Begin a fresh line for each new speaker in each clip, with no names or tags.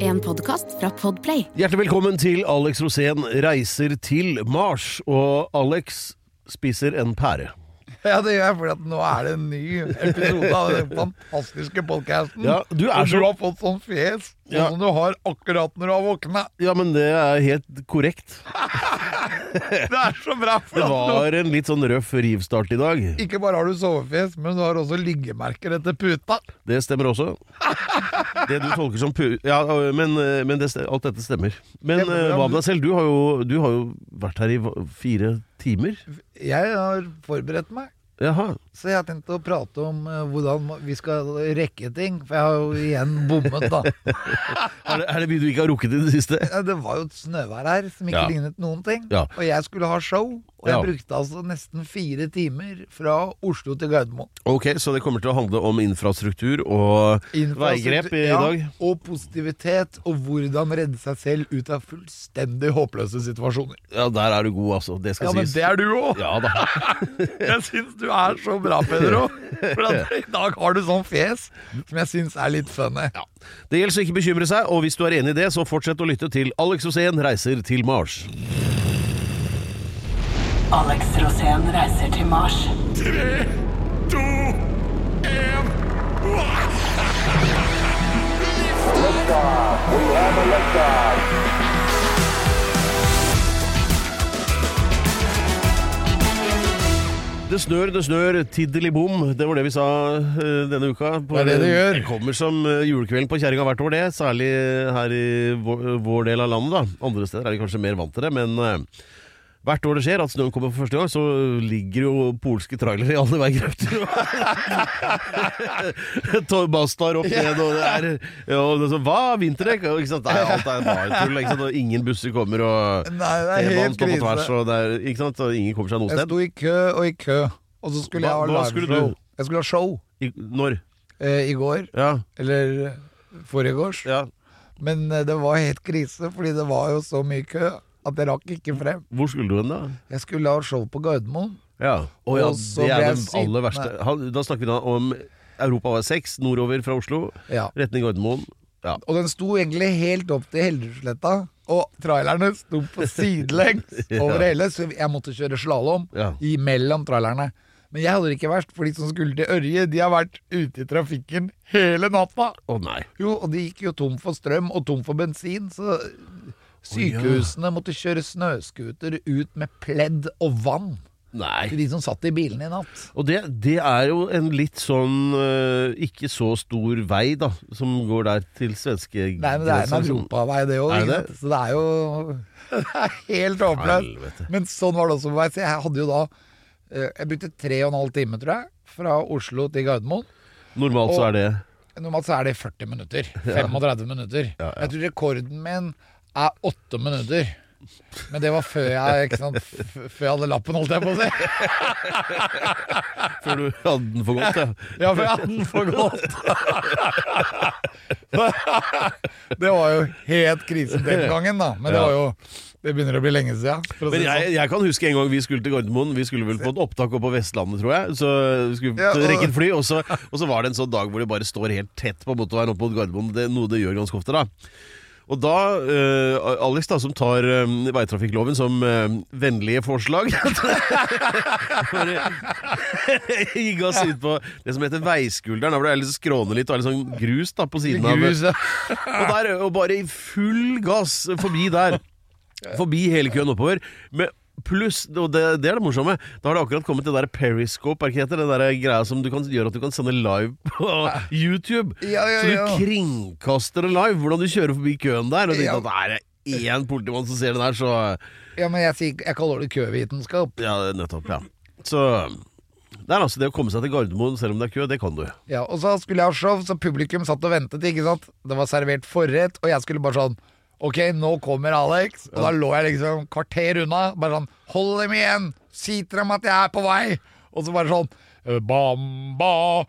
En podkast fra Podplay.
Hjertelig velkommen til Alex Rosén reiser til Mars. Og Alex spiser en pære.
Ja, det gjør jeg, for nå er det en ny episode av den fantastiske podkasten.
Ja, du er så-
Du har fått sånn fjes sånn
Ja.
som du har akkurat når du har våkna.
Ja, men det er helt korrekt.
Det er så bra! for
Det
at nå-
var en litt sånn røff rivstart i dag.
Ikke bare har du sovefjes, men du har også liggemerker etter puta.
Det stemmer også. Det du tolker som pu... Ja, men, men det, ste- alt dette stemmer. Men
Ja, men-
eh, hva med deg selv? Du har, jo, du har jo vært her i hva- fire timer.
Jeg har forberedt meg,
Jaha.
så jeg har tenkt å prate om eh, hvordan vi skal rekke ting. For jeg har jo igjen bommet, da.
Er det, er det mye du ikke har rukket i det siste?
Ja, Det var jo et snøvær her som ikke
Ja.
lignet noen ting.
Ja.
Og jeg skulle ha show, og jeg
Ja.
brukte altså nesten fire timer fra Oslo til Gardermoen.
Ok, så det kommer til å handle om infrastruktur og veigrep i
ja,
dag?
Og positivitet, og hvordan redde seg selv ut av fullstendig håpløse situasjoner.
Ja, der er du god, altså. Det skal
Ja, men
sies.
det er du òg!
Ja da.
Jeg syns du er så bra, Pedro. For at i dag har du sånn fjes som jeg syns er litt funny.
Det gjelder så ikke bekymre seg, og hvis du er enig i det, så fortsett å lytte til Alex Rosén reiser til Mars.
Alex Rosén reiser til Mars.
Det snør, det snør, tiddeli-bom. Det var det vi sa eh, denne uka. På-
Det er det det gjør.
kommer som eh, julekvelden på kjerringa hvert år, det. Særlig eh, her i vår, eh, vår del av landet, da. Andre steder er de kanskje mer vant til det, men eh, Hvert år det skjer at snøen kommer for første gang, så ligger jo polske trailere i alle veigrøfter. Thomas tar opp ned, og det er, ja, og det er så, Hva? Vinterdekk? Og Ikke sant? Nei, alt er bare tull. Ikke sant? Og ingen busser kommer, og
Nei, det er
T-banen
helt
står på tvers,
krise.
og det er, ikke sant? Og ingen kommer seg noe
Jeg
sted.
sto i kø og i kø, og så skulle
Hva-
jeg
hva
ha
skulle
liveshow.
du?
Jeg skulle ha show
I, når?
eh, i går,
Ja.
eller eh, foregårs,
ja.
men eh, det var helt krise, fordi det var jo så mye kø at jeg rakk ikke frem.
Hvor skulle du hen, da?
Jeg skulle ha show på Gardermoen.
Ja. Å ja,
Og så
det
ble
er
jeg
det
sittende.
aller verste. Han- Da snakker vi da om Europavei 6 nordover fra Oslo,
Ja.
retning Gardermoen. Ja.
Og den sto egentlig helt opp til Hellerudsletta. Og trailerne sto på sidelengs over hele, så jeg måtte kjøre slalåm
Ja.
imellom trailerne. Men jeg hadde det ikke verst, for de som skulle til Ørje, de har vært ute i trafikken hele natta.
Å nei.
Jo, og de gikk jo tom for strøm og tom for bensin, så sykehusene måtte kjøre snøskuter ut med pledd og vann til
Nei.
de som satt i bilene i natt.
Og det, det er jo en litt sånn øh, ikke så stor vei, da, som går der til svenske
Nei, men det er en europavei, det òg.
Er det det?
Så det er jo Det er helt håpløst.
Helvete.
Men sånn var det også på vei. Så jeg hadde jo da eh, Jeg brukte tre og en halv time, tror jeg, fra Oslo til Gardermoen.
Normalt så
Og-
er det
Normalt så er det 40 minutter. 35 minutter. Jeg tror rekorden min er 8 minutter. Men det var før jeg, ikke sant, f- før jeg hadde lappen, holdt jeg på å si.
Før du hadde den for godt, ja.
Ja, før jeg hadde den for godt. Det var jo helt krisen den gangen, da. Men det var jo Det begynner å bli lenge siden. for å si
Men
det sånn.
jeg, jeg kan huske en gang vi skulle til Gardermoen. Vi skulle vel på et opptak oppe på Vestlandet, tror jeg. Så vi skulle
Ja, og-
rekke et fly, og så, og så var det en sånn dag hvor det bare står helt tett på motorveien opp mot Gardermoen. Det, noe det gjør ganske ofte, da. Og da eh, Alex, da, som tar eh, veitrafikkloven som eh, vennlige forslag Bare Gikk oss eh, ut på det som heter veiskulderen. Da hvor det er litt skråne litt og er litt sånn grus da på siden av
Grus, ja.
og, der, og bare i full gass forbi der. Forbi hele køen oppover. Med Pluss, og det, det er det morsomme, da har det akkurat kommet det der periscope, er det ikke det heter? Den der greia som du kan gjøre at du kan sende live på YouTube.
Ja, ja, ja.
Så du kringkaster det live, hvordan du kjører forbi køen der. Og
Ja.
tenker at er det én politimann som ser den der, så
Ja, men jeg, sier, jeg kaller det køvitenskap.
Ja, nettopp, ja. Så Det er altså det å komme seg til Gardermoen selv om det er kø, det kan du.
Ja, og så skulle jeg ha show, så publikum satt og ventet, ikke sant? Det var servert forrett, og jeg skulle bare sånn Ok, nå kommer Alex. Og da lå jeg liksom kvarter unna. Bare sånn Hold dem igjen! Si til dem at jeg er på vei! Og så bare sånn eh, Bamba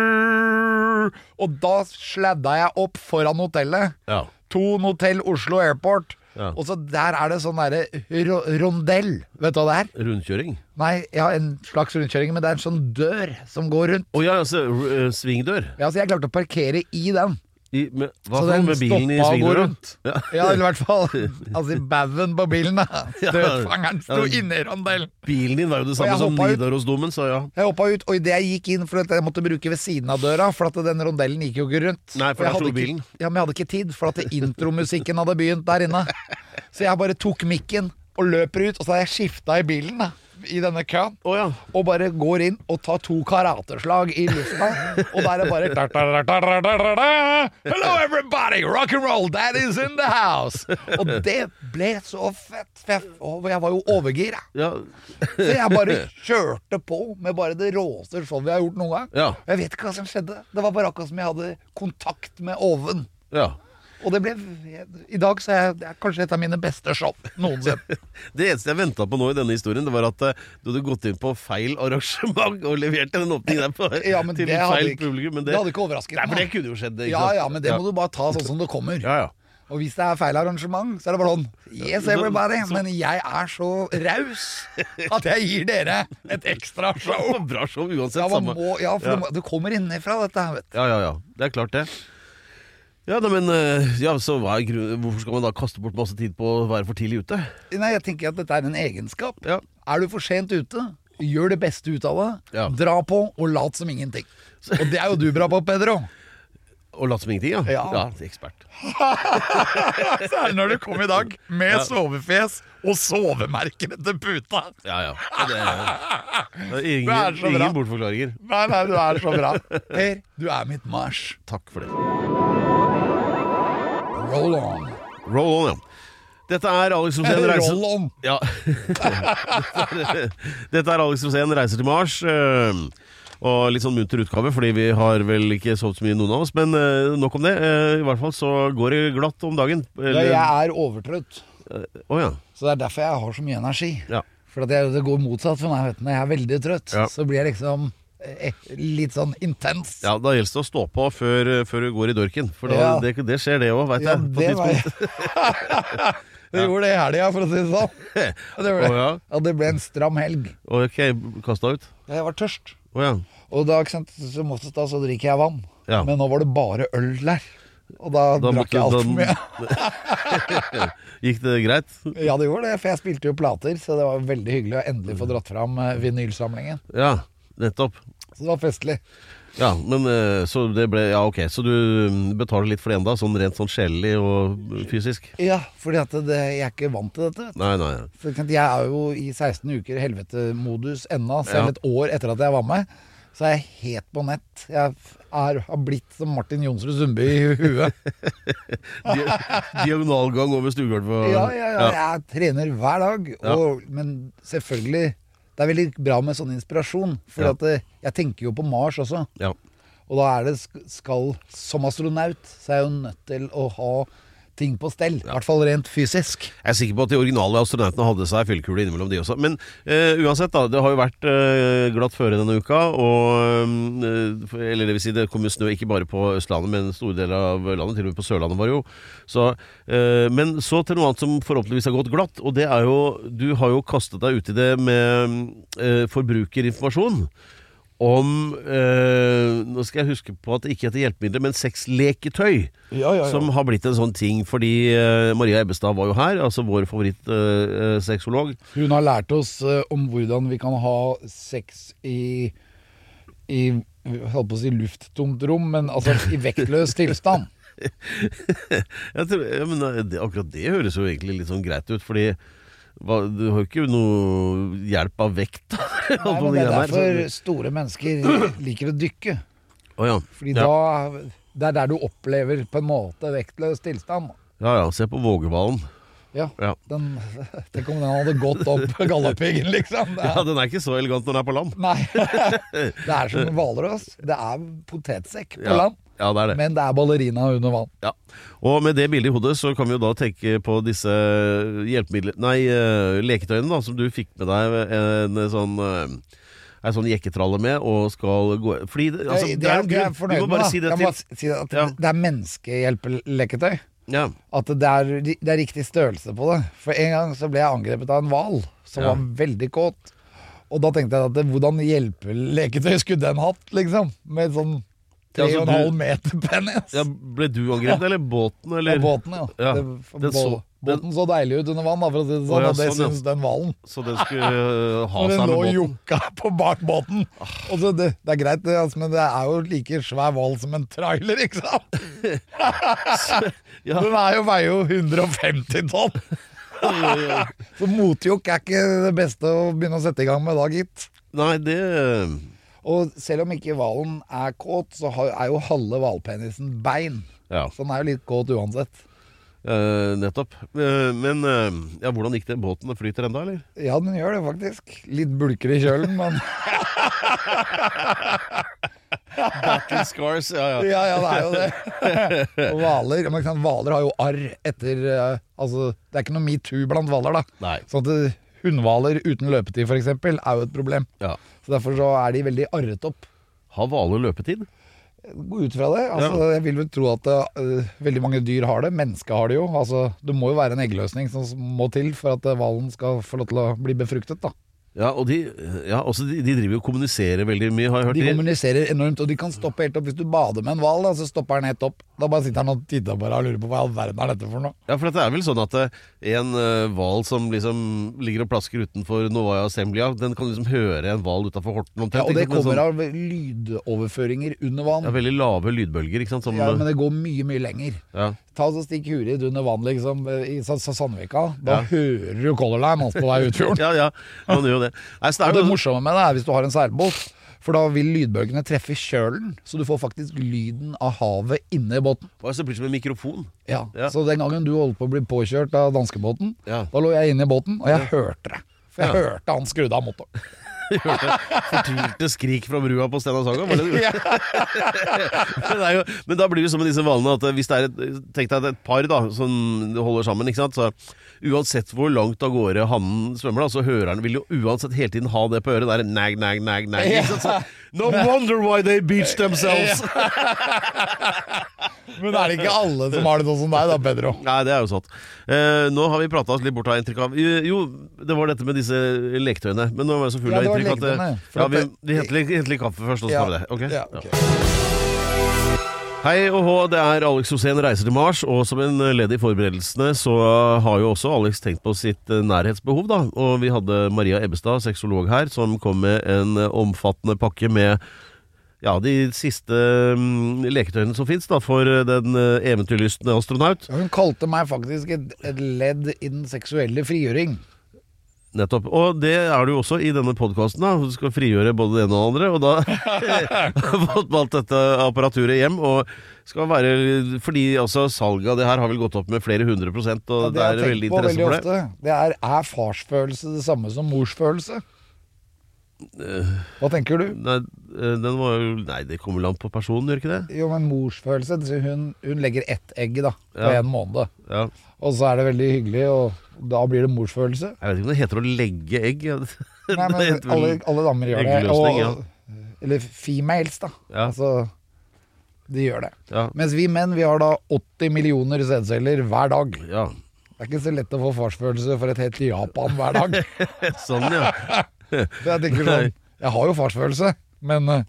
du-du. Og da sladda jeg opp foran hotellet.
Ja.
Thon hotell Oslo Airport.
Ja.
Og så der er det sånn derre ro rondell. Vet du hva det er?
Rundkjøring.
Nei, ja, en slags rundkjøring, men det er en sånn dør som går rundt.
Å ja, altså r- eh, svingdør.
Ja, så jeg klarte å parkere i den.
I, med, hva
Så
faen
den
med bilen i
stoppa og går
svingdøra?
rundt. Ja. eller i hvert fall Altså i baugen på bilen, da. Dødfangeren sto
Ja.
inne i rondellen.
Bilen din var jo det samme
jeg
som
hoppa ut.
Nidarosdomen, så ja.
Jeg hoppa ut, og idet jeg gikk inn for at jeg måtte bruke ved siden av døra, for at den rondellen gikk jo ikke rundt.
Nei, for
Og jeg
der sto
hadde ikke-
bilen.
Ja, Men jeg hadde ikke tid, for at intromusikken hadde begynt der inne. Så jeg bare tok mikken og løper ut, og så hadde jeg skifta i bilen, da. I denne køen.
Å ja.
og bare går inn og tar to karateslag i lufta. Og der er bare da-da-da-da-da-da-da. Hello everybody, rock and roll, daddy's in the house. Og det ble så fett, fett. Og jeg var jo overgira.
Ja,
Så jeg bare kjørte på med bare det råeste showet jeg har gjort noen gang.
Ja.
Og Jeg vet ikke hva som skjedde. Det var bare akkurat som jeg hadde kontakt med oven.
ja.
Og det ble I dag så er jeg, det er kanskje et av mine beste show noensinne.
Det eneste jeg venta på nå i denne historien, det var at eh, du hadde gått inn på feil arrangement og levert den åpningen der på,
Ja, men
til
det hadde
feil
ikke-
publikum. Men
det hadde ikke overrasket
Nei,
meg.
for det kunne jo skjedd. ikke
Ja
sant?
ja, men det må du bare ta sånn som det kommer.
Ja, ja.
Og hvis det er feil arrangement, så er det bare sånn Yes, everybody! Men jeg er så raus at jeg gir dere et ekstra
Det
show!
var bra show uansett.
Ja, man
samme.
må, ja for
Ja.
det må- det kommer innenfra, dette her, vet du.
Ja, ja, ja. Det er klart, det. Ja, nei, men eh, ja, så hva er grunn- Hvorfor skal man da kaste bort masse tid på å være for tidlig ute?
Nei, jeg tenker at dette er en egenskap.
Ja.
Er du for sent ute, gjør det beste ut av det.
Ja.
Dra på og lat som ingenting. Og det er jo du bra på, Pedro.
Og late som ingenting, ja?
Ja.
ekspert.
Særlig når du kom i dag med sovefjes og sovemerker etter puta.
Ja, ja. Det er, det er
Det er
ingen,
så bra.
ingen bortforklaringer.
Nei, nei, du er så bra. Per, du er mitt Mars.
Takk for det.
Roll on.
Roll on, ja. Dette er Alex Rosén
Eller
reiser...
roll on.
Ja. Dette er Alex Rosén reiser til Mars. eh, Og litt sånn munter utgave, fordi vi har vel ikke sovet så mye noen av oss. Men eh, nok om det. Eh, I hvert fall så går det glatt om dagen.
Ja,
Eller-
jeg er overtrøtt,
Å ja.
så det er derfor jeg har så mye energi.
Ja.
For at jeg, det går motsatt for meg. Vet du. Når jeg er veldig trøtt,
Ja.
så blir jeg liksom eh, litt sånn intens.
Ja, da gjelder det å stå på før, eh, før du går i dørken. For da,
Ja.
det, det skjer det òg, veit
Ja,
jeg. på
det var
tidspunkt.
jeg. Det gjorde det i helga, for å si det sånn. Ja, Det ble,
Å, ja.
ja, det ble en stram helg.
Ok, kasta ut.
Ja, Jeg var tørst.
Å ja.
Og da, ikke sant, som oftest da, så drikker jeg vann.
Ja.
Men nå var det bare øl der. Og da,
Da måtte
drakk jeg
du- sånn-
altfor mye.
Gikk det greit?
Ja, det gjorde det, for jeg spilte jo plater, så det var veldig hyggelig å endelig få dratt fram eh, vinylsamlingen.
Ja, nettopp.
Så det var festlig.
Ja, men eh, så det ble Ja, ok, så du mm, betaler litt for det enda, sånn rent sånn sjelelig og fysisk?
Ja, fordi at det, jeg er ikke vant til dette. vet du.
Nei, nei.
For ikke sant, jeg er jo i 16 uker helvetemodus ennå, selv
Ja.
et år etter at jeg var med. Så er jeg helt på nett. Jeg er, har blitt som Martin Jonsrud Sundby i huet.
Dia diagonalgang over stuegulvet og
Ja, ja, ja, jeg trener hver dag. Og, men selvfølgelig Det er veldig bra med sånn inspirasjon. For
Ja.
at eh, jeg tenker jo på Mars også.
ja.
Og da er det sk- skal Som astronaut så er jeg jo nødt til å ha ting på stell. I hvert fall rent fysisk.
Jeg er sikker på at de originale astronautene hadde seg fyllekule innimellom, de også. Men eh, uansett, da. Det har jo vært eh, glatt føre denne uka. Og, eh, eller det vil si, det kom jo snø ikke bare på Østlandet, men store deler av landet. Til og med på Sørlandet var det jo. Så, eh, men så til noe annet som forhåpentligvis har gått glatt. Og det er jo Du har jo kastet deg ut i det med eh, forbrukerinformasjon. Om eh, Nå skal jeg huske på at det ikke heter hjelpemidler, men sexleketøy.
Ja, ja, ja.
Som har blitt en sånn ting fordi eh, Maria Ebbestad var jo her, altså vår eh, favorittsexolog.
Hun har lært oss eh, om hvordan vi kan ha sex i, i jeg holdt på å si lufttomt rom, men altså i vektløs tilstand.
Jeg tror- ja, men eh, det, akkurat det høres jo egentlig litt sånn greit ut, fordi hva, du har jo ikke noe hjelp av vekt. da,
Nei,
på de
men det er
greiene her,
derfor
så-
store mennesker liker å dykke.
Å ja.
Fordi
ja.
da Det er der du opplever på en måte vektløs tilstand.
ja ja, se på vågehvalen.
Ja,
Ja.
den, Tenk om den hadde gått opp Galdhøpiggen, liksom. Det
Ja,
er,
Den er ikke så elegant når den er på land.
nei. Det er som hvaler, ass. Det er potetsekk på
Ja.
land,
Ja, det er det.
men det er ballerina under vann.
Ja. Og med det bildet i hodet så kan vi jo da tenke på disse hjelpemidlene Nei, eh, leketøyene da, som du fikk med deg en sånn eh, en sånn jekketralle med og skal gå Fordi det, altså,
Jeg-
det er en
jeg
grunn. Du må
med,
bare
da.
si det
Jeg må
til
bare si at
Ja.
Det er menneskehjelpeleketøy.
ja.
At det er, det er riktig størrelse på det. For en gang så ble jeg angrepet av en hval som
Ja.
var veldig kåt. Og da tenkte jeg at det, hvordan hjelpeleketøy skulle den hatt, liksom? Med sånn
Ja, altså,
3,5 meter penis.
ja. Ble du angrepet, eller båten,
Ja,
eller
båten, ja.
Ja,
Det,
den så-
bå- båten så deilig ut under vann, da, for å si det
Å,
sånn.
ja,
og det
sånn, ja.
syns den hvalen.
Så den skulle eh, ha seg
Når den
med
lå og
båten.
jokka på bak båten. Og så det, det er greit, det, altså, men det er jo like svær hval som en trailer, ikke sant?
Ja.
Den er jo, veier jo 150 tonn. Så motjokk er ikke det beste å begynne å sette i gang med da, gitt.
Nei, det
Og selv om ikke hvalen er kåt, så har- er jo halve hvalpenisen bein.
Ja,
Så den er jo litt kåt uansett.
eh, nettopp. Eh, men eh, ja, hvordan gikk det? Båten flyter ennå, eller?
Ja, den gjør det faktisk. Litt bulker i kjølen, men
Battle scars, ja, ja.
Ja, ja, det er jo det. Og hvaler ja, men ikke sant, Hvaler har jo arr etter eh, Altså, det er ikke noe metoo blant hvaler, da.
Nei.
Sånn at eh, Hunnhvaler uten løpetid, f.eks., er jo et problem.
ja.
Så Derfor så er de veldig arret opp.
Har hvaler løpetid?
Gå ut fra det. Altså, Jeg vil vel tro at eh, veldig mange dyr har det. Mennesket har det jo. Altså, Det må jo være en eggløsning som må til for at eh, hvalen skal få lov til å bli befruktet. da
Ja, og de, ja, også de, de driver jo og kommuniserer veldig mye, har jeg hørt.
De kommuniserer enormt, og de kan stoppe helt opp. Hvis du bader med en hval, da, så stopper han helt opp. Da bare sitter han og titter på deg og lurer på hva i all verden er dette for noe.
ja, for det er vel sånn at eh, en eh, hval som liksom ligger og plasker utenfor Novaya Assemblia, den kan liksom høre en hval utafor Horten omtrent.
Ja, og det
ikke sant?
kommer
sånn,
av lydoverføringer under vann.
ja, Veldig lave lydbølger, ikke sant? Som,
Ja,
ja,
men det går mye, mye lenger.
ja.
Ta og Stikk huet ditt under vann liksom, i Sa- Sa- Sandvika. Da hører du Color Line altså, på vei ut fjorden.
ja, ja, man gjør jo det. Nei, så det
Og
er
det
jo
morsomme med det er hvis du har en seilbåt, for da vil lydbølgene treffe kjølen, så du får faktisk lyden av havet inne i båten.
Hva er det som blir som en mikrofon?
Ja.
Ja.
Så den gangen du holdt på å bli påkjørt av danskebåten,
Ja.
da lå jeg inne i båten, og jeg hørte det. For jeg hørte han skrudde av motoren.
Fortvilte skrik fra brua på Stena Saga, var det det? men, det er jo, men da blir det som med disse hvalene at eh, hvis det er et, tenk deg at et par da, som holder sammen, ikke sant? så uansett hvor langt av gårde hannen svømmer, da, så høreren vil jo uansett hele tiden ha det på øret. Det er nag, nag, nag, nag. Ikke sant? Så, no wonder why they beach themselves!
Men det er det ikke alle som har det sånn som deg da, Pedro.
Nei, det er jo sant. Eh, nå har vi prata oss litt bort av inntrykk av Jo, jo, det var dette med disse leketøyene. Men nå var jeg så full
Ja,
av
det var
inntrykk at eh,
leketøyene, for
ja,
at
vi,
det-
vi henter litt- henter litt kaffe først, og så tar vi det. Ok?
Ja,
Ja.
ok.
Hei og hå, det er Alex Rosén reiser til Mars, og som en ledd i forberedelsene så har jo også Alex tenkt på sitt eh, nærhetsbehov, da. Og vi hadde Maria Ebbestad, sexolog her, som kom med en eh, omfattende pakke med ja, de siste mm, leketøyene som fins for eh, den eh, eventyrlystne astronaut.
Ja, Hun kalte meg faktisk et, et ledd i den seksuelle frigjøring.
Nettopp. Og det er du jo også i denne podkasten. Du skal frigjøre både det ene og det andre. Og da har jeg fått med alt dette apparaturet hjem. Og skal være Fordi altså, salget av det her har vel gått opp med flere hundre prosent, og det,
har jeg
er
tenkt
veldig
på
interesse for det.
ofte. Det er, er farsfølelse det samme som morsfølelse? Hva tenker du?
Nei, eh, den var jo Nei, det kommer vel an på personen, gjør ikke det?
Jo, men morsfølelse det- Hun, hun legger ett egg da, på
Ja.
en måned.
Ja.
Og så er det veldig hyggelig, og da blir det morsfølelse.
Jeg vet ikke om det heter å legge egg. Det
Nei, men
heter vel-
alle, alle damer gjør det.
eggløsning, ja.
Eller females, da.
Ja.
Altså, de gjør det.
Ja.
Mens vi menn vi har da 80 millioner sædceller hver dag.
ja.
Det er ikke så lett å få farsfølelse for et helt Japan hver dag.
Sånn, ja.
Så jeg tenker sånn Jeg har jo farsfølelse, men eh,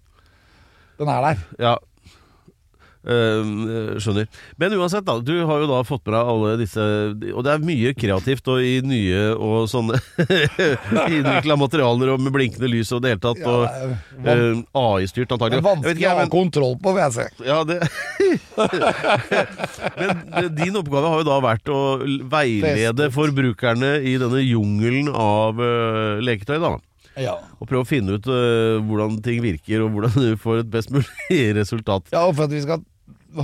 den er der.
Ja Ehm, skjønner. Men uansett, da. Du har jo da fått med deg alle disse Og det er mye kreativt og i nye og sånne innvikla materialer og med blinkende lys og det hele tatt.
Ja,
Og
det er
ehm, AI-styrt,
Det
antagelig.
er vanskelig å ha
men-
kontroll på, vil jeg si.
ja, det. Men din oppgave har jo da vært å veilede forbrukerne i denne jungelen av eh, leketøy, da.
Ja.
Og prøve å finne ut eh, hvordan ting virker, og hvordan du får et best mulig resultat.
ja, og for at vi skal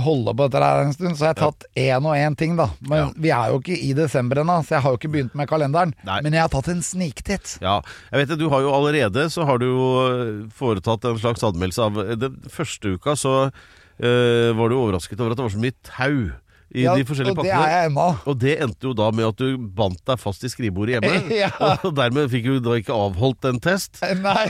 holde på dette her en stund, så har jeg tatt én og én ting, da. Men
Ja.
vi er jo ikke i desember ennå, så jeg har jo ikke begynt med kalenderen.
Nei.
Men jeg har tatt en sniktitt.
Ja, jeg vet det, du har jo allerede så har du jo eh, foretatt en slags anmeldelse av eh, Den første uka så eh, var du overrasket over at det var så mye tau i de forskjellige
og det er
pakkene.
jeg ennå.
Og det endte jo da med at du bandt deg fast i skrivebordet hjemme.
Ja.
Og dermed fikk du da ikke avholdt en test.
Nei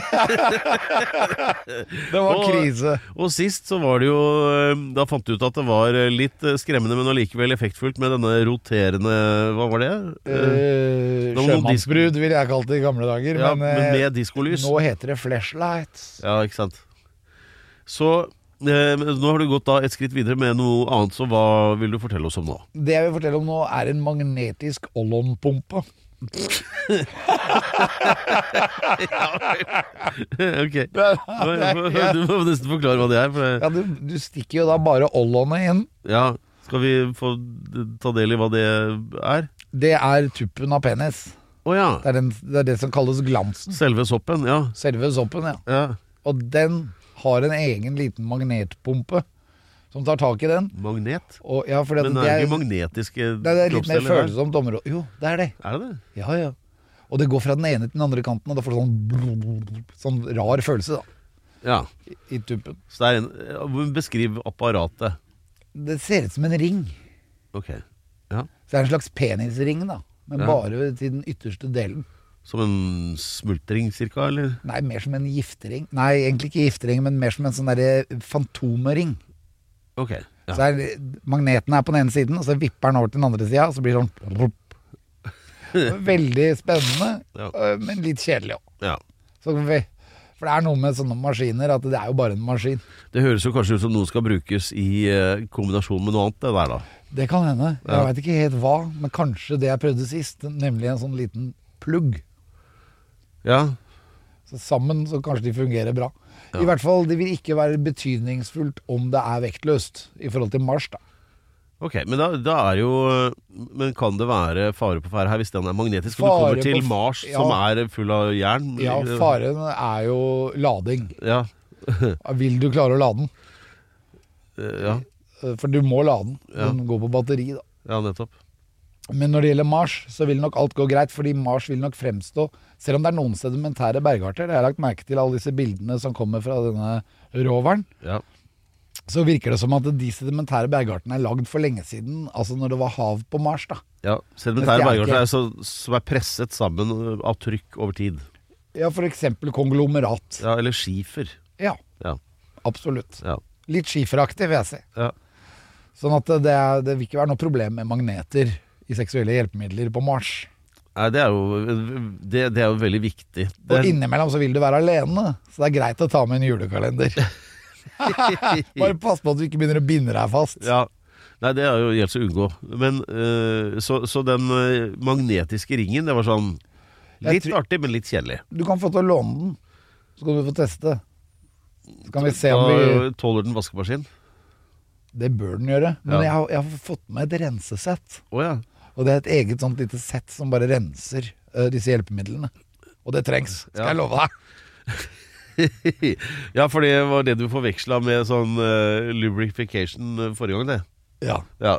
Det var
Og-
krise.
Og sist så var det jo eh, Da fant du ut at det var eh, litt eh, skremmende, men allikevel effektfullt med denne roterende Hva var det? Eh,
Eh,
det var noen disk-
Sjømannsbrud ville jeg kalt det i gamle dager,
ja,
men,
men
eh,
med diskolys.
nå heter det flashlights.
Ja, ikke sant. Så eh, nå har du gått da et skritt videre med noe annet, så hva vil du fortelle oss om nå?
Det jeg vil fortelle om nå, er en magnetisk Ollon-pumpe.
ok. Du må nesten forklare hva det er. For
Ja,
det,
du, du stikker jo da bare Ollonet inn.
ja, skal vi få ta del i hva det er?
Det er tuppen av penis.
Å ja.
Det er, den, det er det som kalles glansen.
Selve soppen, ja.
Selve soppen, ja.
ja.
Og den har en egen liten magnetpumpe som tar tak i den.
Magnet.
Og, ja, fordi at
Men det er jo
det,
magnetiske
er, det er litt mer
kroppsdeler. der.
følsomt område. Jo, det er det.
Er det det?
Ja, ja. Og det går fra den ene til den andre kanten, og da får du sånn, blub, blub, blub, sånn rar følelse da,
Ja.
i, i tuppen.
Så det er en, eh, beskriv apparatet.
Det ser ut som en ring.
Ok. Ja.
Så det er en slags penisring, da. Men
Ja.
bare til den ytterste delen.
Som en smultring, cirka? Eller?
Nei, mer som en giftering. Nei, egentlig ikke giftering, men mer som en sånn derre fantomring.
Ok. Ja.
Så er, magneten er på den ene siden, og så vipper den over til den andre sida, og så blir det sånn rup. Veldig spennende,
Ja.
øh, men litt kjedelig òg.
ja.
For det er noe med sånne maskiner at det er jo bare en maskin.
Det høres jo kanskje ut som noe skal brukes i eh, kombinasjon med noe annet, det der da.
Det kan hende. Jeg
Ja.
vet veit ikke helt hva, men kanskje det jeg prøvde sist, nemlig en sånn liten plugg.
Ja,
Så sammen så kanskje de fungerer bra. I hvert fall, det vil ikke være betydningsfullt om det er vektløst, i forhold til Mars, da.
ok, men da, da er jo Men kan det være fare på ferde her hvis den er magnetisk? For du
Fare
kommer
på
til
f-
Mars
ja.
som er full av jern? Eh,
Ja, faren er jo lading.
Ja,
Vil du klare å lade den?
eh, ja,
Eh, For du må lade den.
Ja.
Den går på batteri, da.
ja nettopp.
Men når det gjelder Mars, så vil nok alt gå greit, fordi Mars vil nok fremstå Selv om det er noen sedimentære bergarter, det har jeg lagt merke til alle disse bildene som kommer fra denne roveren,
Ja.
så virker det som at de sedimentære bergartene er lagd for lenge siden, altså når det var hav på Mars, da.
ja.
Men det
Sedimentære
er ikke-
bergarter er så, som er presset sammen eh, av trykk over tid.
Ja, for eksempel konglomerat.
Ja, Eller skifer.
Ja,
Ja,
absolutt.
ja,
Litt skiferaktig, vil jeg si.
ja.
Sånn at det, er- det vil ikke være noe problem med magneter i seksuelle hjelpemidler på Mars.
Nei, det er jo Det, det er jo veldig viktig. Det
Og
er,
innimellom så vil du være alene, så det er greit å ta med en julekalender. Bare pass på at du ikke begynner å binde deg fast.
Ja. Nei, det er jo gjeldt å unngå. Men eh, så, så den eh, magnetiske ringen, det var sånn
Jeg
Litt
tror-
artig, men litt kjedelig.
Du kan få til å låne den, så kan du få teste. Så kan vi se
Da
om vi
tåler den vaskemaskin.
Det bør den gjøre. Men
Ja.
jeg, har, jeg har fått med et rensesett.
Å ja.
Og det er et eget sånt lite sett som bare renser eh, disse hjelpemidlene. Og det trengs, skal
Ja.
jeg love deg.
ja, for det var det du forveksla med sånn eh, lubrification eh, forrige gang, det.
Ja,
Ja.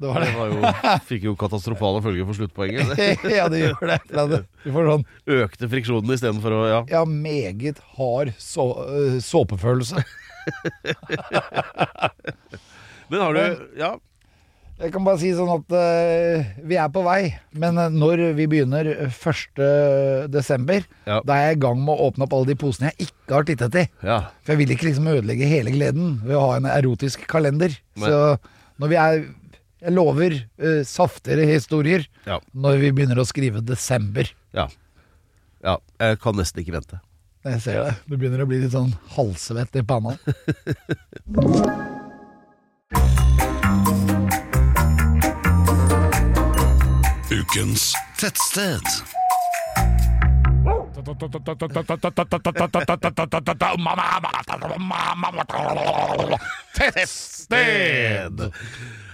det var
Det
det.
var jo, fikk jo katastrofale følger for sluttpoenget. Det.
ja, det gjør det. Ja, det- Du får sånn
Økte friksjonen istedenfor å Ja.
ja, meget hard så, eh, såpefølelse.
Men har du Ja.
Jeg kan bare si sånn at eh, vi er på vei, men eh, når vi begynner 1. desember,
Ja.
da er jeg i gang med å åpne opp alle de posene jeg ikke har tittet i.
ja.
For jeg vil ikke liksom ødelegge hele gleden ved å ha en erotisk kalender.
Nei.
Så når vi er Jeg lover eh, saftigere historier
Ja.
når vi begynner å skrive desember.
Ja. ja. Jeg kan nesten ikke vente.
Jeg ser det. Du begynner å bli litt sånn halvsvett i panna.
Ukens tettsted.
Tettsted!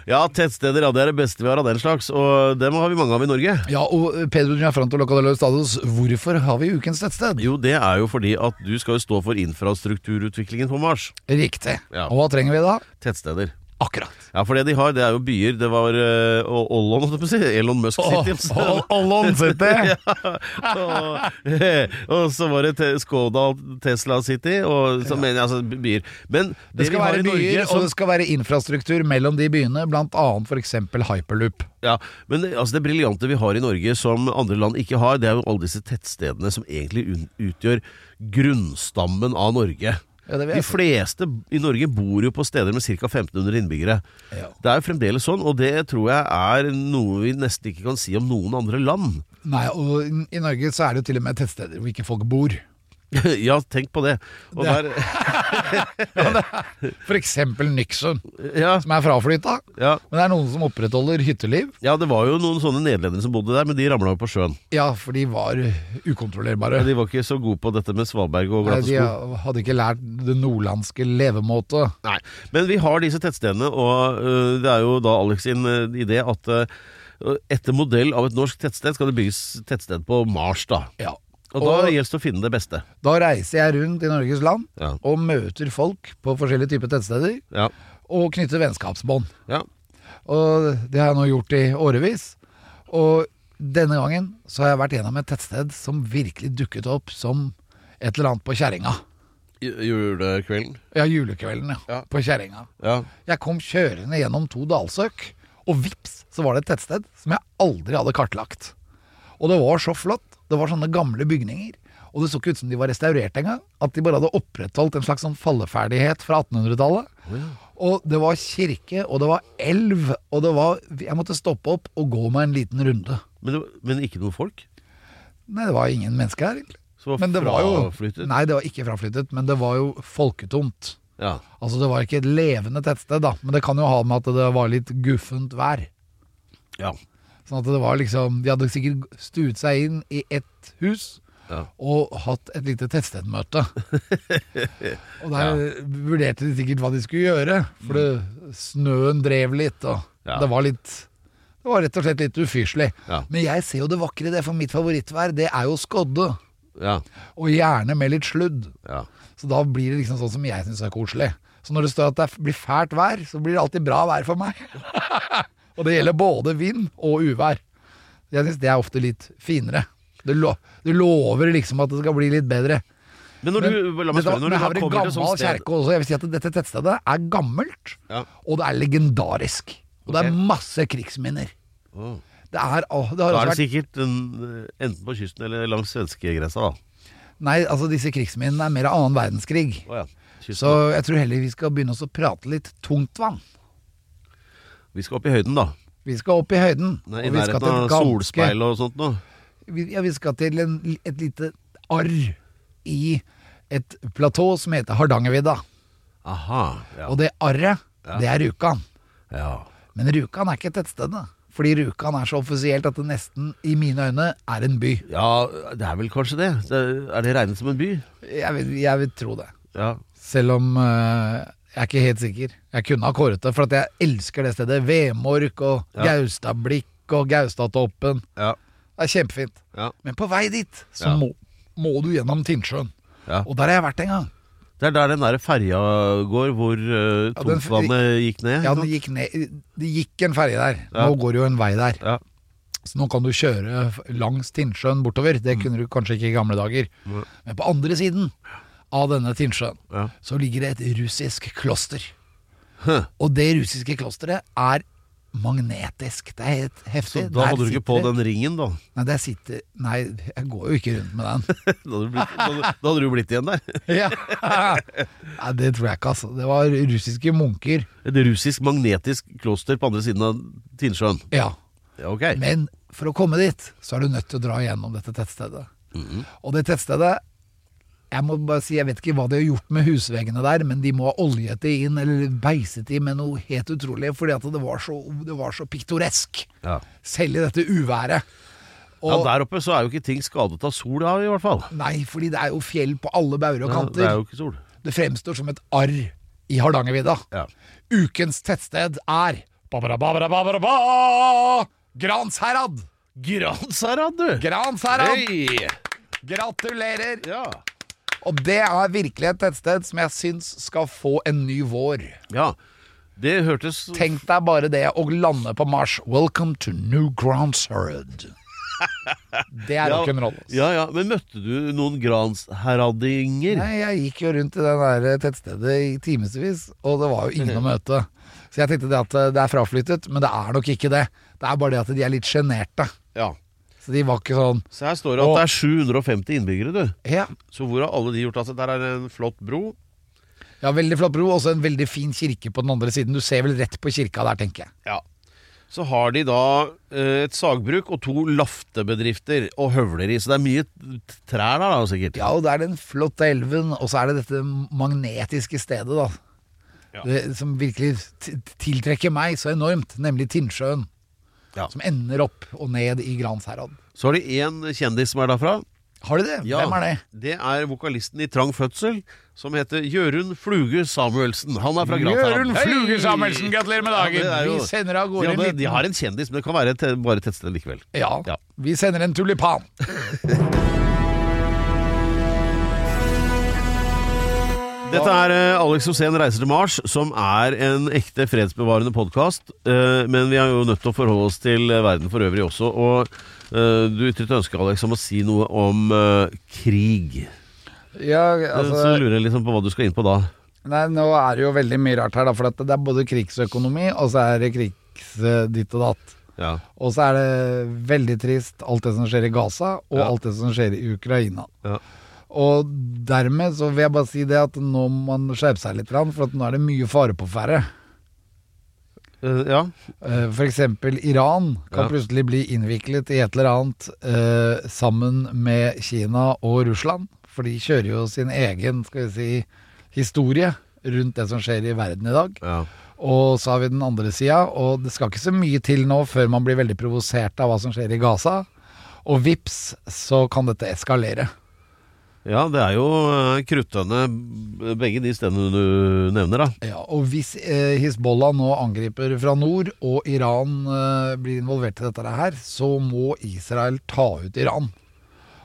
Ja, tettsteder, ja, det er det beste vi har av den slags, og dem har vi mange av i Norge.
Ja, og eh, Pedro Gianfranto Locadelo Stados, hvorfor har vi ukens tettsted?
Jo, det er jo fordi at du skal jo stå for infrastrukturutviklingen på Mars.
Riktig.
Ja.
Og hva trenger vi da?
Tettsteder.
Akkurat.
Ja, for det de har, det er jo byer. Det var eh, og Ollon, holdt jeg på å si. Elon Musk City.
Allon City!
og, og så var det Te- Skoda Tesla City, og så mener jeg altså byer. Men det,
Det skal
vi har
være
i Norge
byer, og
som-
det skal være infrastruktur mellom de byene, blant annet for eksempel hyperloop.
Ja, men det- altså det briljante vi har i Norge som andre land ikke har, det er jo alle disse tettstedene som egentlig un utgjør grunnstammen av Norge.
Ja, det vil
De
jeg si.
fleste i Norge bor jo på steder med ca. 1500 innbyggere.
Ja.
Det er jo fremdeles sånn, og det tror jeg er noe vi nesten ikke kan si om noen andre land.
Nei, og i- i Norge så er det jo til og med tettsteder hvor ikke folk bor.
ja, tenk på det. Og der,
For eksempel Nyksund,
ja,
som er fraflytta.
ja,
Men det er noen som opprettholder hytteliv.
ja, det var jo noen sånne nederlendere som bodde der, men de ramla jo på sjøen.
Ja, for de var ukontrollerbare.
De var ikke så gode på dette med svalberg og
Nei,
glatte
de
sko.
hadde ikke lært det nordlandske levemåte.
Nei, men vi har disse tettstedene, og øh, det er jo da Alex sin øh, idé at øh, etter modell av et norsk tettsted skal det bygges tettsted på Mars, da.
Ja.
Og da
Og-
gjelder det å finne det beste.
Da reiser jeg rundt i Norges land
Ja.
og møter folk på forskjellige typer tettsteder,
Ja.
og knytter vennskapsbånd.
ja.
Og det har jeg nå gjort i årevis. Og denne gangen så har jeg vært gjennom et tettsted som virkelig dukket opp som et eller annet på kjerringa.
Ju- Julekvelden.
Ja, julekvelden, ja.
Ja.
På kjerringa.
Ja.
Jeg kom kjørende gjennom to dalsøk, og vips, så var det et tettsted som jeg aldri hadde kartlagt. Og det var så flott. Det var sånne gamle bygninger. Og det så ikke ut som de var restaurert engang. At de bare hadde opprettholdt en slags sånn falleferdighet fra 1800-tallet. Og det var kirke, og det var elv, og det var Jeg måtte stoppe opp og gå meg en liten runde.
Men, det, men ikke noe folk?
Nei, det var ingen mennesker her, egentlig.
Som var
Men det var jo
fraflyttet?
Nei, det var ikke fraflyttet, men det var jo folketomt.
Ja.
Altså, det var ikke et levende tettsted, da. Men det kan jo ha med at det var litt guffent vær.
ja.
Sånn at det var liksom De hadde sikkert stuet seg inn i ett hus
Ja.
og hatt et lite tettstedmøte. og der vurderte de sikkert hva de skulle gjøre, for det, snøen drev litt, og
Mm. Ja.
det var litt Det var rett og slett litt ufyselig.
Ja.
Men jeg ser jo det vakre i det, for mitt favorittvær, det er jo skodde.
Ja.
Og gjerne med litt sludd.
ja.
Så da blir det liksom sånn som jeg syns er koselig. Så når det står at det er- blir fælt vær, så blir det alltid bra vær for meg. og det gjelder både vind og uvær. Jeg syns det er ofte litt finere. Du, lo du lover liksom at det skal bli litt bedre.
Men når du La meg
dette-
spørre, når
men
du
her
da
var det
kommer
gammel
til et sånt sted
kjerke også. Jeg vil si at dette tettstedet er gammelt,
Ja.
og det er legendarisk. Og det
Ok.
er masse krigsminner.
Åh.
Det er, åh, det har
Da er
også
det
vært
sikkert en, øh, enten på kysten eller langs svenskegrensa, da.
Nei, altså disse krigsminnene er mer av annen verdenskrig.
Å ja. Kysten.
Så jeg tror heller vi skal begynne oss å prate litt tungtvann.
Vi skal opp i høyden, da.
Vi skal opp i høyden.
Nei, I
og vi
nærheten
skal til
av
et ganske-
solspeil og sånt noe.
Vi, ja, vi skal til en, et lite arr i et platå som heter Hardangervidda.
Aha. Ja.
Og det arret, det er Rjukan.
ja.
Men Rjukan er ikke et tettsted, da. fordi Rjukan er så offisielt at det nesten, i mine øyne, er en by.
Ja, det er vel kanskje det. det er det regnet som en by?
Jeg vil, jeg vil tro det.
Ja.
Selv om eh, jeg er ikke helt sikker. Jeg kunne ha kåret det, for at jeg elsker det stedet. Vemork og Gaustablikk og Gaustatoppen.
Ja.
Det er kjempefint.
Ja.
Men på vei dit så
Ja.
må, må du gjennom Tinnsjøen.
Ja.
Og der har jeg vært en gang.
Det er der den der ferja går hvor uh,
Ja, den-
tungtvannet gikk ned?
Ja,
ikke
det
sant?
gikk, ned, det gikk en ferge der.
Ja.
Nå går det jo en vei der.
Ja.
Så nå kan du kjøre f- langs Tinnsjøen bortover. Det
Mm.
kunne du kanskje ikke i gamle dager. Men på andre siden av denne Tinnsjøen
Ja.
så ligger det et russisk kloster.
Hæ.
Og det russiske klosteret er magnetisk. Det er helt heftig.
Så da
Der
hadde du ikke på
sitter-
den ringen, da?
Nei, der sitter Nei, jeg går jo ikke rundt med den.
Da hadde du blitt, da hadde- da hadde du blitt igjen der.
ja. Nei, det tror jeg ikke, altså. Det var russiske munker.
Et russisk magnetisk kloster på andre siden av Tinnsjøen.
Ja.
Ja, ok.
Men for å komme dit, så er du nødt til å dra gjennom dette tettstedet.
Mhm.
Og det tettstedet Jeg må bare si, jeg vet ikke hva de har gjort med husveggene der, men de må ha oljet det inn eller beiset det med noe helt utrolig, fordi at det var så, det var så piktoresk.
Ja.
Selv i dette uværet.
ja,
Og,
Der oppe så er jo ikke ting skadet av sol, da, i hvert fall.
nei, fordi det er jo fjell på alle bauger og
Ja,
kanter.
det er jo ikke sol.
Det fremstår som et arr i Hardangervidda.
Ja.
Ukens tettsted er Ba-ba-da-ba-ba-da-ba-da-ba! Gransherad!
Gransherad, du!
Gransherad!
Hei!
Gratulerer!
Ja.
Og det er virkelig et tettsted som jeg syns skal få en ny vår.
ja. Det hørtes
Tenk deg bare det å lande på Mars. Welcome to New Gransherad. Det er rock'n'roll. ass.
Ja, ja. Men møtte du noen gransheradinger?
Nei, jeg gikk jo rundt i det der tettstedet i timevis, og det var jo ingen å møte. Så jeg tenkte det at eh, det er fraflyttet, men det er nok ikke det. Det er bare det at de er litt sjenerte.
Ja.
Så de var ikke sånn
Så her står det at
Og-
det er 750 innbyggere, du.
Ja,
Så hvor har alle de gjort av seg? Der er en flott bro.
ja veldig flott bro, også en veldig fin kirke på den andre siden. Du ser vel rett på kirka der, tenker jeg.
Ja. Så har de da eh, et sagbruk og to laftebedrifter og høvleri. Så det er mye t- trær der, da, sikkert.
Ja, og det er den flotte elven, og så er det dette magnetiske stedet, da.
Ja.
Det, som virkelig t- tiltrekker meg så enormt, nemlig Tinnsjøen.
Ja.
Som ender opp og ned i Gransherad.
Så har de én kjendis som er derfra.
Har de det? Hvem er det?
Det er vokalisten i Trang Fødsel, som heter Jørund Fluge Samuelsen. Han er fra
Jørund
Gransherad.
Fluge Samuelsen, gratulerer med dagen!
Ja, det er jo-
vi sender av
De,
gårde en
hadde,
liten
de har en kjendis, men det kan være et, bare et tettsted likevel.
Ja,
Ja.
vi sender en tulipan.
Dette er eh, Alex Rosén reiser til Mars, som er en ekte fredsbevarende podkast. Men vi er jo nødt til å forholde oss til eh, verden for øvrig også. Og eh, du ytret ønske, Alex, om å si noe om eh, krig. Eh,
Ja, altså,
Så lurer jeg liksom på hva du skal inn på da.
Nei, nå er det jo veldig mye rart her, da, for at det er både krigsøkonomi, og så er det krigs eh, ditt og datt.
Ja.
Og så er det veldig trist alt det som skjer i Gaza, og
Ja.
alt det som skjer i Ukraina.
Ja.
Og dermed så vil jeg bare si det at nå må man skjerpe seg litt, grann, for at nå er det mye fare på ferde.
Eh, ja.
Eh, For eksempel Iran kan
Ja.
plutselig bli innviklet i et eller annet eh, sammen med Kina og Russland, for de kjører jo sin egen, skal vi si, historie rundt det som skjer i verden i dag.
ja.
Og så har vi den andre sida, og det skal ikke så mye til nå før man blir veldig provosert av hva som skjer i Gaza. Og vips, så kan dette eskalere.
Ja, det er jo eh, kruttønne b- begge de stedene du nevner, da.
Ja, og hvis eh, Hizbollah nå angriper fra nord, og Iran eh, blir involvert i dette her, så må Israel ta ut Iran.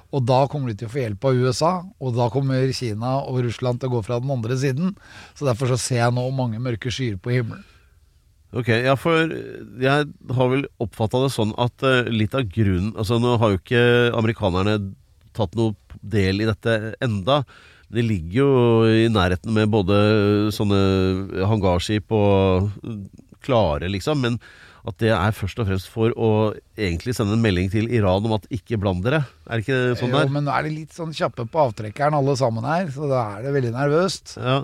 Og da kommer de til å få hjelp av USA, og da kommer Kina og Russland til å gå fra den andre siden. Så derfor så ser jeg nå mange mørke skyer på himmelen.
Ok, ja, for jeg har vel oppfatta det sånn at eh, litt av grunnen Altså, nå har jo ikke amerikanerne tatt noe del i dette enda. De ligger jo i nærheten med både sånne hangarskip og eh, klare, liksom. Men at det er først og fremst for å egentlig sende en melding til Iran om at ikke bland dere. Er det ikke sånn
jo,
der?
men nå er de litt sånn kjappe på avtrekkeren alle sammen her, så da er det veldig nervøst.
Ja.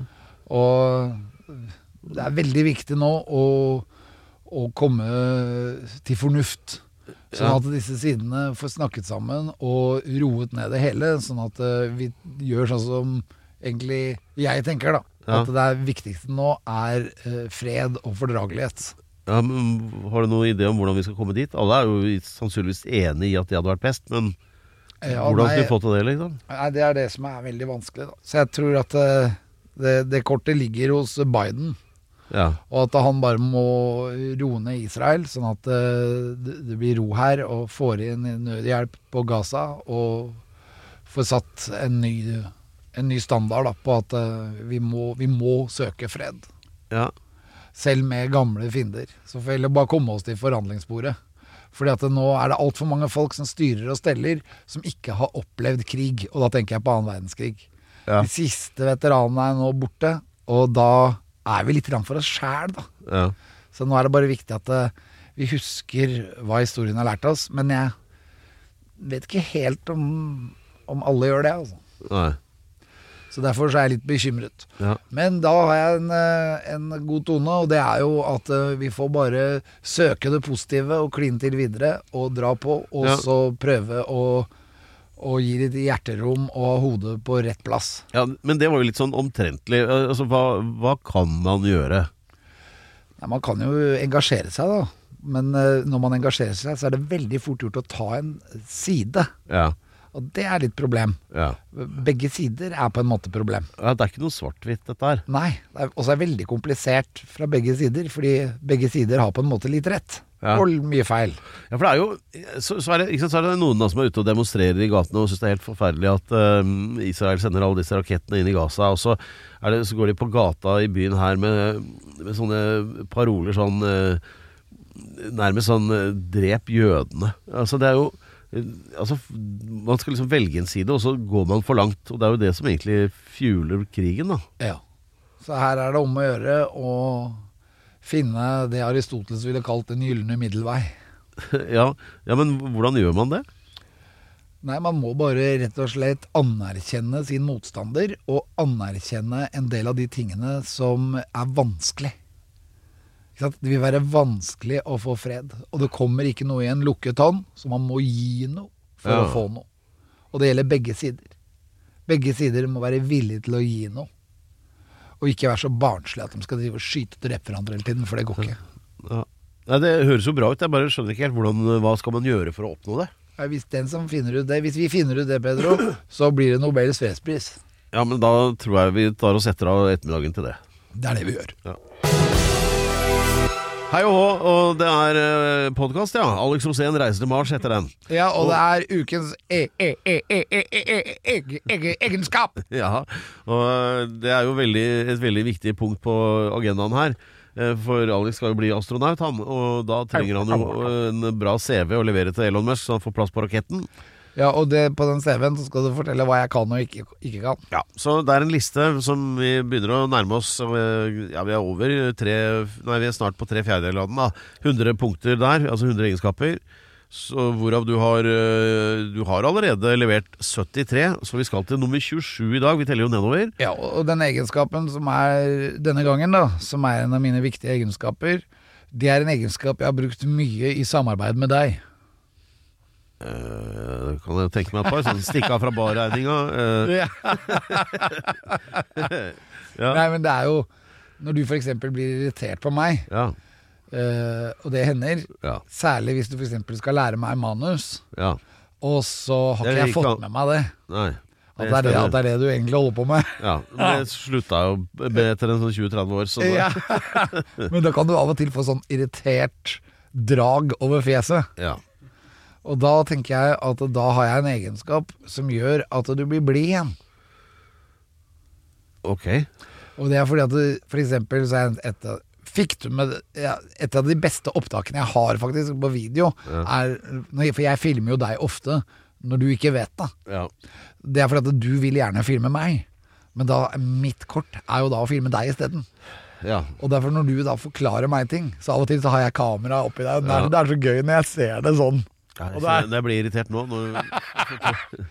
Og det er veldig viktig nå å, å komme til fornuft. Sånn
Ja.
at disse sidene får snakket sammen og roet ned det hele. Sånn at eh, vi gjør sånn som egentlig jeg tenker, da.
Ja.
At det er- viktigste nå er eh, fred og fordragelighet.
Ja, men Har du noen idé om hvordan vi skal komme dit? Alle er jo sannsynligvis enig i at det hadde vært best, men
Ja,
hvordan skal
Eh, nei,
vi få til det, liksom?
Nei, Det er det som er veldig vanskelig. Da. Så jeg tror at eh, det, det kortet ligger hos Biden.
Ja,
Og at han bare må roe ned Israel, sånn at eh, det, det blir ro her, og får inn nødhjelp på Gaza, og får satt en ny, en ny standard da, på at eh, vi, må, vi må søke fred.
ja.
Selv med gamle fiender. Så får vi heller bare komme oss til forhandlingsbordet. Fordi at det nå er det altfor mange folk som styrer og steller, som ikke har opplevd krig. Og da tenker jeg på annen verdenskrig.
Ja.
De siste veteranene er nå borte, og da er vi litt grann for oss sjæl, da.
Ja.
Så nå er det bare viktig at eh, vi husker hva historien har lært oss, men jeg vet ikke helt om, om alle gjør det, altså.
Nei.
Så derfor så er jeg litt bekymret.
Ja.
Men da har jeg en, eh, en god tone, og det er jo at eh, vi får bare søke det positive og kline til videre, og dra på, og
Ja.
så prøve å, å gi litt hjerterom og ha hodet på rett plass.
ja, men det var jo litt sånn omtrentlig. Eh, Altså, hva, hva kan man gjøre?
Nei, man kan jo engasjere seg, da. Men eh, når man engasjerer seg, så er det veldig fort gjort å ta en side.
Ja.
Og det er litt problem.
Ja.
Begge sider er på en måte problem.
Ja, Det er ikke noe svart-hvitt, dette her.
Nei, det er- og så er det veldig komplisert fra begge sider, fordi begge sider har på en måte litt rett.
Ja.
Og mye feil.
Ja, for det er jo Så, så, er, det, ikke sant, så er det noen da som er ute og demonstrerer i gatene og syns det er helt forferdelig at eh, Israel sender alle disse rakettene inn i Gaza, og så, er det, så går de på gata i byen her med, med sånne paroler sånn eh, Nærmest sånn eh, 'drep jødene'. Altså, det er jo eh, Altså, f- man skal liksom velge en side, og så går man for langt. Og det er jo det som egentlig fueler krigen, da.
Ja. Så her er det om å gjøre å finne det Aristoteles ville kalt den gylne middelvei.
ja, ja, men hvordan gjør man det?
Nei, man må bare rett og slett anerkjenne sin motstander, og anerkjenne en del av de tingene som er vanskelig. Ikke sant? Det vil være vanskelig å få fred, og det kommer ikke noe i en lukket hånd, så man må gi noe for
Ja.
å få noe. Og det gjelder begge sider. Begge sider må være villige til å gi noe. Og ikke være så barnslige at de skal drive og skyte og drepe hverandre hele tiden, for det går ikke.
Ja. Nei, Det høres jo bra ut, jeg bare skjønner ikke helt hvordan, hva skal man gjøre for å oppnå det.
Nei, Hvis, den som finner ut det, hvis vi finner ut det, Pedro, så blir det Nobels fredspris.
Ja, men da tror jeg vi tar og setter av ettermiddagen til det.
Det er det vi gjør.
Hei og hå, og det er podkast, ja. Alex Rosén reiser til Mars heter den.
Ja, og det er ukens e e e e e e e e e egenskap.
Ja, og eh, det er jo veldig, et veldig viktig punkt på agendaen her. Eh, For Alex skal jo bli astronaut, han, og da trenger han jo eh, en bra CV å levere til Elon Musk, så han får plass på raketten.
Ja, og det, på den CV-en så skal du fortelle hva jeg kan og ikke, ikke kan.
Ja, så det er en liste som vi begynner å nærme oss som, eh, Ja, vi er over tre Nei, vi er snart på tre fjerdedeler av den da 100 punkter der, altså 100 egenskaper så, Hvorav du har eh, Du har allerede levert 73 Så vi skal til nummer 27 i dag Vi teller jo nedover
Ja, og og den egenskapen som er denne gangen, da, som er en av mine viktige egenskaper, det er en egenskap jeg har brukt mye i samarbeid med deg.
Eh, Kan jeg tenke meg et par Sånn stikk av fra barregninga eh, Ja.
Nei, men det er jo når du f.eks. blir irritert på meg,
Ja,
eh, og det hender,
ja,
særlig hvis du f.eks. skal lære meg manus,
ja
og så har
Det
ikke jeg
gikk an.
fått med meg det.
Nei
At det, er det,
stemmer.
at det er det du egentlig holder på med.
Ja, men det slutta jo etter en sånn 20-30 år så da-
Ja. Men da kan du av og til få sånn irritert drag over fjeset.
ja.
Og da tenker jeg at da har jeg en egenskap som gjør at du blir blid igjen.
Ok
Og det er fordi at du, for eksempel så er et av Fikk du med ja, Et av de beste opptakene jeg har faktisk på video, er når jeg- For jeg filmer jo deg ofte når du ikke vet det.
Ja
Det er fordi at du vil gjerne filme meg, men da mitt kort er jo da å filme deg isteden.
Ja,
Og derfor når du da forklarer meg ting, så av og til så har jeg kamera oppi deg. Det er,
Ja.
det er så gøy når jeg ser det sånn.
Jeg,
Og det er-
kjenner- jeg blir irritert nå. nå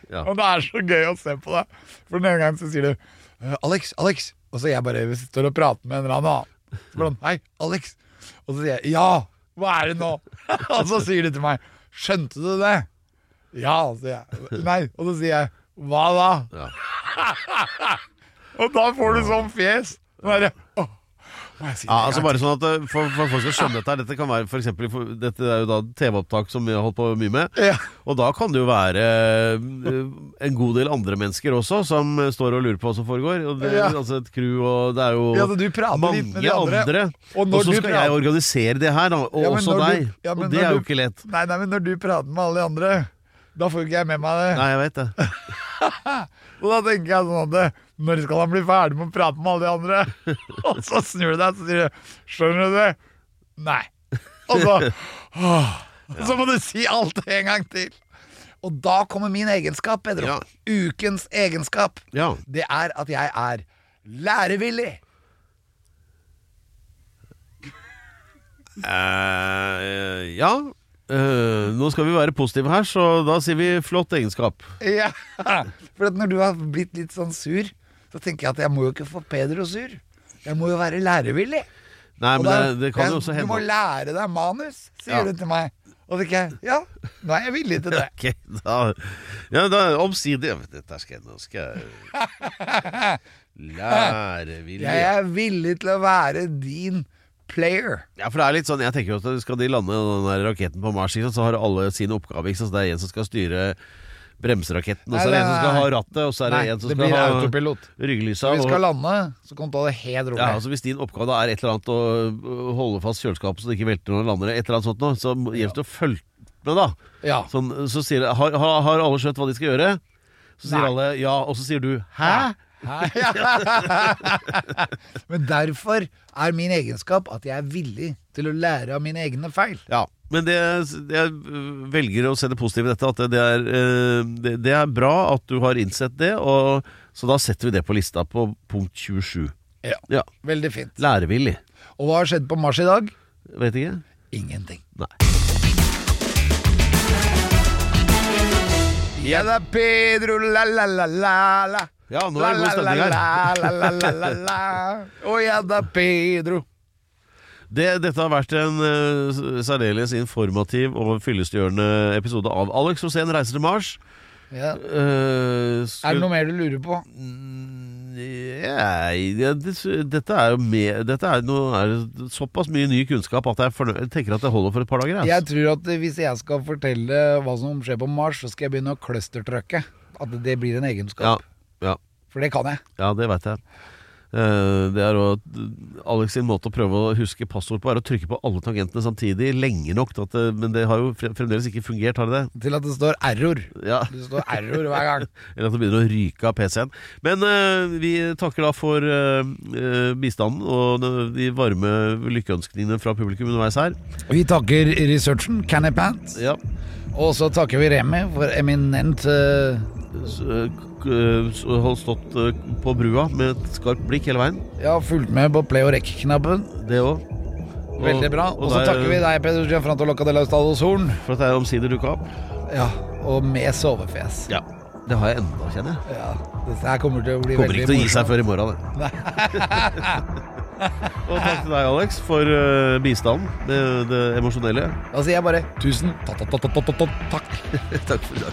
ja.
Og det er så gøy å se på deg. For den ene gangen så sier du «Eh, Alex, Alex. Og så jeg bare står og prater med en eller annen. annen. Så bare han, Hei, Alex. Og så sier jeg ja, hva er det nå? og så sier du til meg skjønte du det? Ja, sier jeg. Nei. Og så sier jeg hva da?
Ja.
og da får du sånn fjes. Sånn derre, «Åh, må jeg si det
Ja,
en
altså
gang
bare sånn at eh, for, for folk skal skjønne dette her Dette kan være for eksempel, for Dette er jo da TV-opptak som vi har holdt på mye med
Ja.
Og da kan det jo være eh, En god del andre mennesker også Som eh, står og lurer på hva som foregår og det,
Ja.
Altså et crew og det er jo
Ja, så du prater
mange
litt med de andre. Og
Og
når
så
du
skal
prater-
jeg organisere det her da, Og
Ja, men
også
når du-
deg
ja, men
Og det
når
er
du-
jo ikke lett
Nei, nei, men når du prater med alle de andre, da får ikke jeg med meg det.
Nei, jeg vet det
Og da tenker jeg sånn at det, når skal han bli ferdig med å prate med alle de andre? Og så snur du deg og sier du, skjønner du det? Nei. Og så, åh, og så må du si alt det en gang til. Og da kommer min egenskap,
Ja.
Pedro. Ukens egenskap.
Ja,
Det er at jeg er lærevillig.
Eh, ja. Eh, Nå skal vi være positive her Så da sier vi flott egenskap
Ja. For at når du har blitt litt sånn sur, så tenker jeg at jeg må jo ikke få Pedro sur. Jeg må jo være lærevillig.
Nei, men
Og
det,
da-
det kan
jeg-
jo også
Du må
hende
lære deg manus, sier
Ja.
du til meg. Og så tenker jeg ja, nå er jeg villig til det.
Ok, da Ja, da omsider ja, men Dette skal jeg Nå skal jeg lære vilje
Jeg er villig til å være din player.
Ja, for det er litt sånn Jeg tenker jo at skal de lande den der raketten på Mars ikke sant, Så har alle sin oppgave ikke sant? Så det er en som skal styre bremseraketten, og
Nei,
så er det en som
nei,
skal
nei.
ha rattet, og så er det
Nei,
en som
det
skal
blir
ha
autopilot.
ryggelysa.
Når vi
og-
skal lande, så kan du ta det helt rolig.
Ja, altså Hvis din oppgave er et eller annet å øh, holde fast kjøleskapet så det ikke velter når det lander, et eller annet sånt nå, så må- gjelder det å følge med, da.
Ja.
Sånn, så sier det, har, har, har alle skjønt hva de skal gjøre? Så sier
Nei.
alle ja, og så sier du hæ?
Men derfor er min egenskap at jeg er villig til å lære av mine egne feil.
Ja. Men det, jeg øh, velger å se det positive i dette, at det, det, er, øh, det, det er bra at du har innsett det, og, så da setter vi det på lista på punkt 27.
Ja.
Ja,
Veldig fint.
Lærevillig.
Og hva har skjedd på Mars i dag?
Vet ikke.
Ingenting.
Nei.
Ja da, Pedro, la la la la la.
Ja, nå er det god stemning her.
her. Å ja da, Pedro.
Det, dette har vært en uh, særdeles informativ og fyllestgjørende episode av Alex Rosén reiser til Mars.
Ja.
Eh,
Er
skulle-
det noe mer du lurer på?
Nei, det- det- dette er jo med, dette er noe, er det såpass mye ny kunnskap at jeg, fornø- jeg tenker at det holder for et par dager. ass.
Jeg tror at hvis jeg skal fortelle hva som skjer på Mars, så skal jeg begynne å clustertrucke. At det blir en
ja,
egenskap.
ja,
For det kan jeg.
ja, det veit jeg. Eh, det er å, Alex sin måte å prøve å huske passord på er å trykke på alle tangentene samtidig lenge nok. til At det, men det har jo fre- fremdeles ikke fungert, har det det?
Til at det står error.
Ja.
Det står error hver gang.
Eller at det begynner å ryke av PC-en. Men eh, vi takker da for eh, eh, bistanden og de- de varme lykkeønskningene fra publikum underveis her.
Vi takker researchen, Canny Pants.
Ja.
Og så takker vi Remi for eminent eh,
S- eh, k- eh, s- Hold stått eh, på brua med et skarpt blikk hele veien.
Ja, fulgt med på play og rekk-knappen.
Det òg.
Veldig bra. Og så takker vi deg, Peder Gianfranto Locca de Laustados Horn.
For at jeg omsider dukka opp.
Ja, og med sovefjes.
Ja. Det har jeg enda, kjenner jeg.
Ja, dette her kommer til å bli
Kommer
veldig
ikke til å gi seg
morsomt.
før i morgen, det. og takk til deg, Alex, for eh, bistanden. Det, det emosjonelle.
Da sier jeg bare tusen ta- ta- ta- ta- ta- ta- takk.
takk for i dag.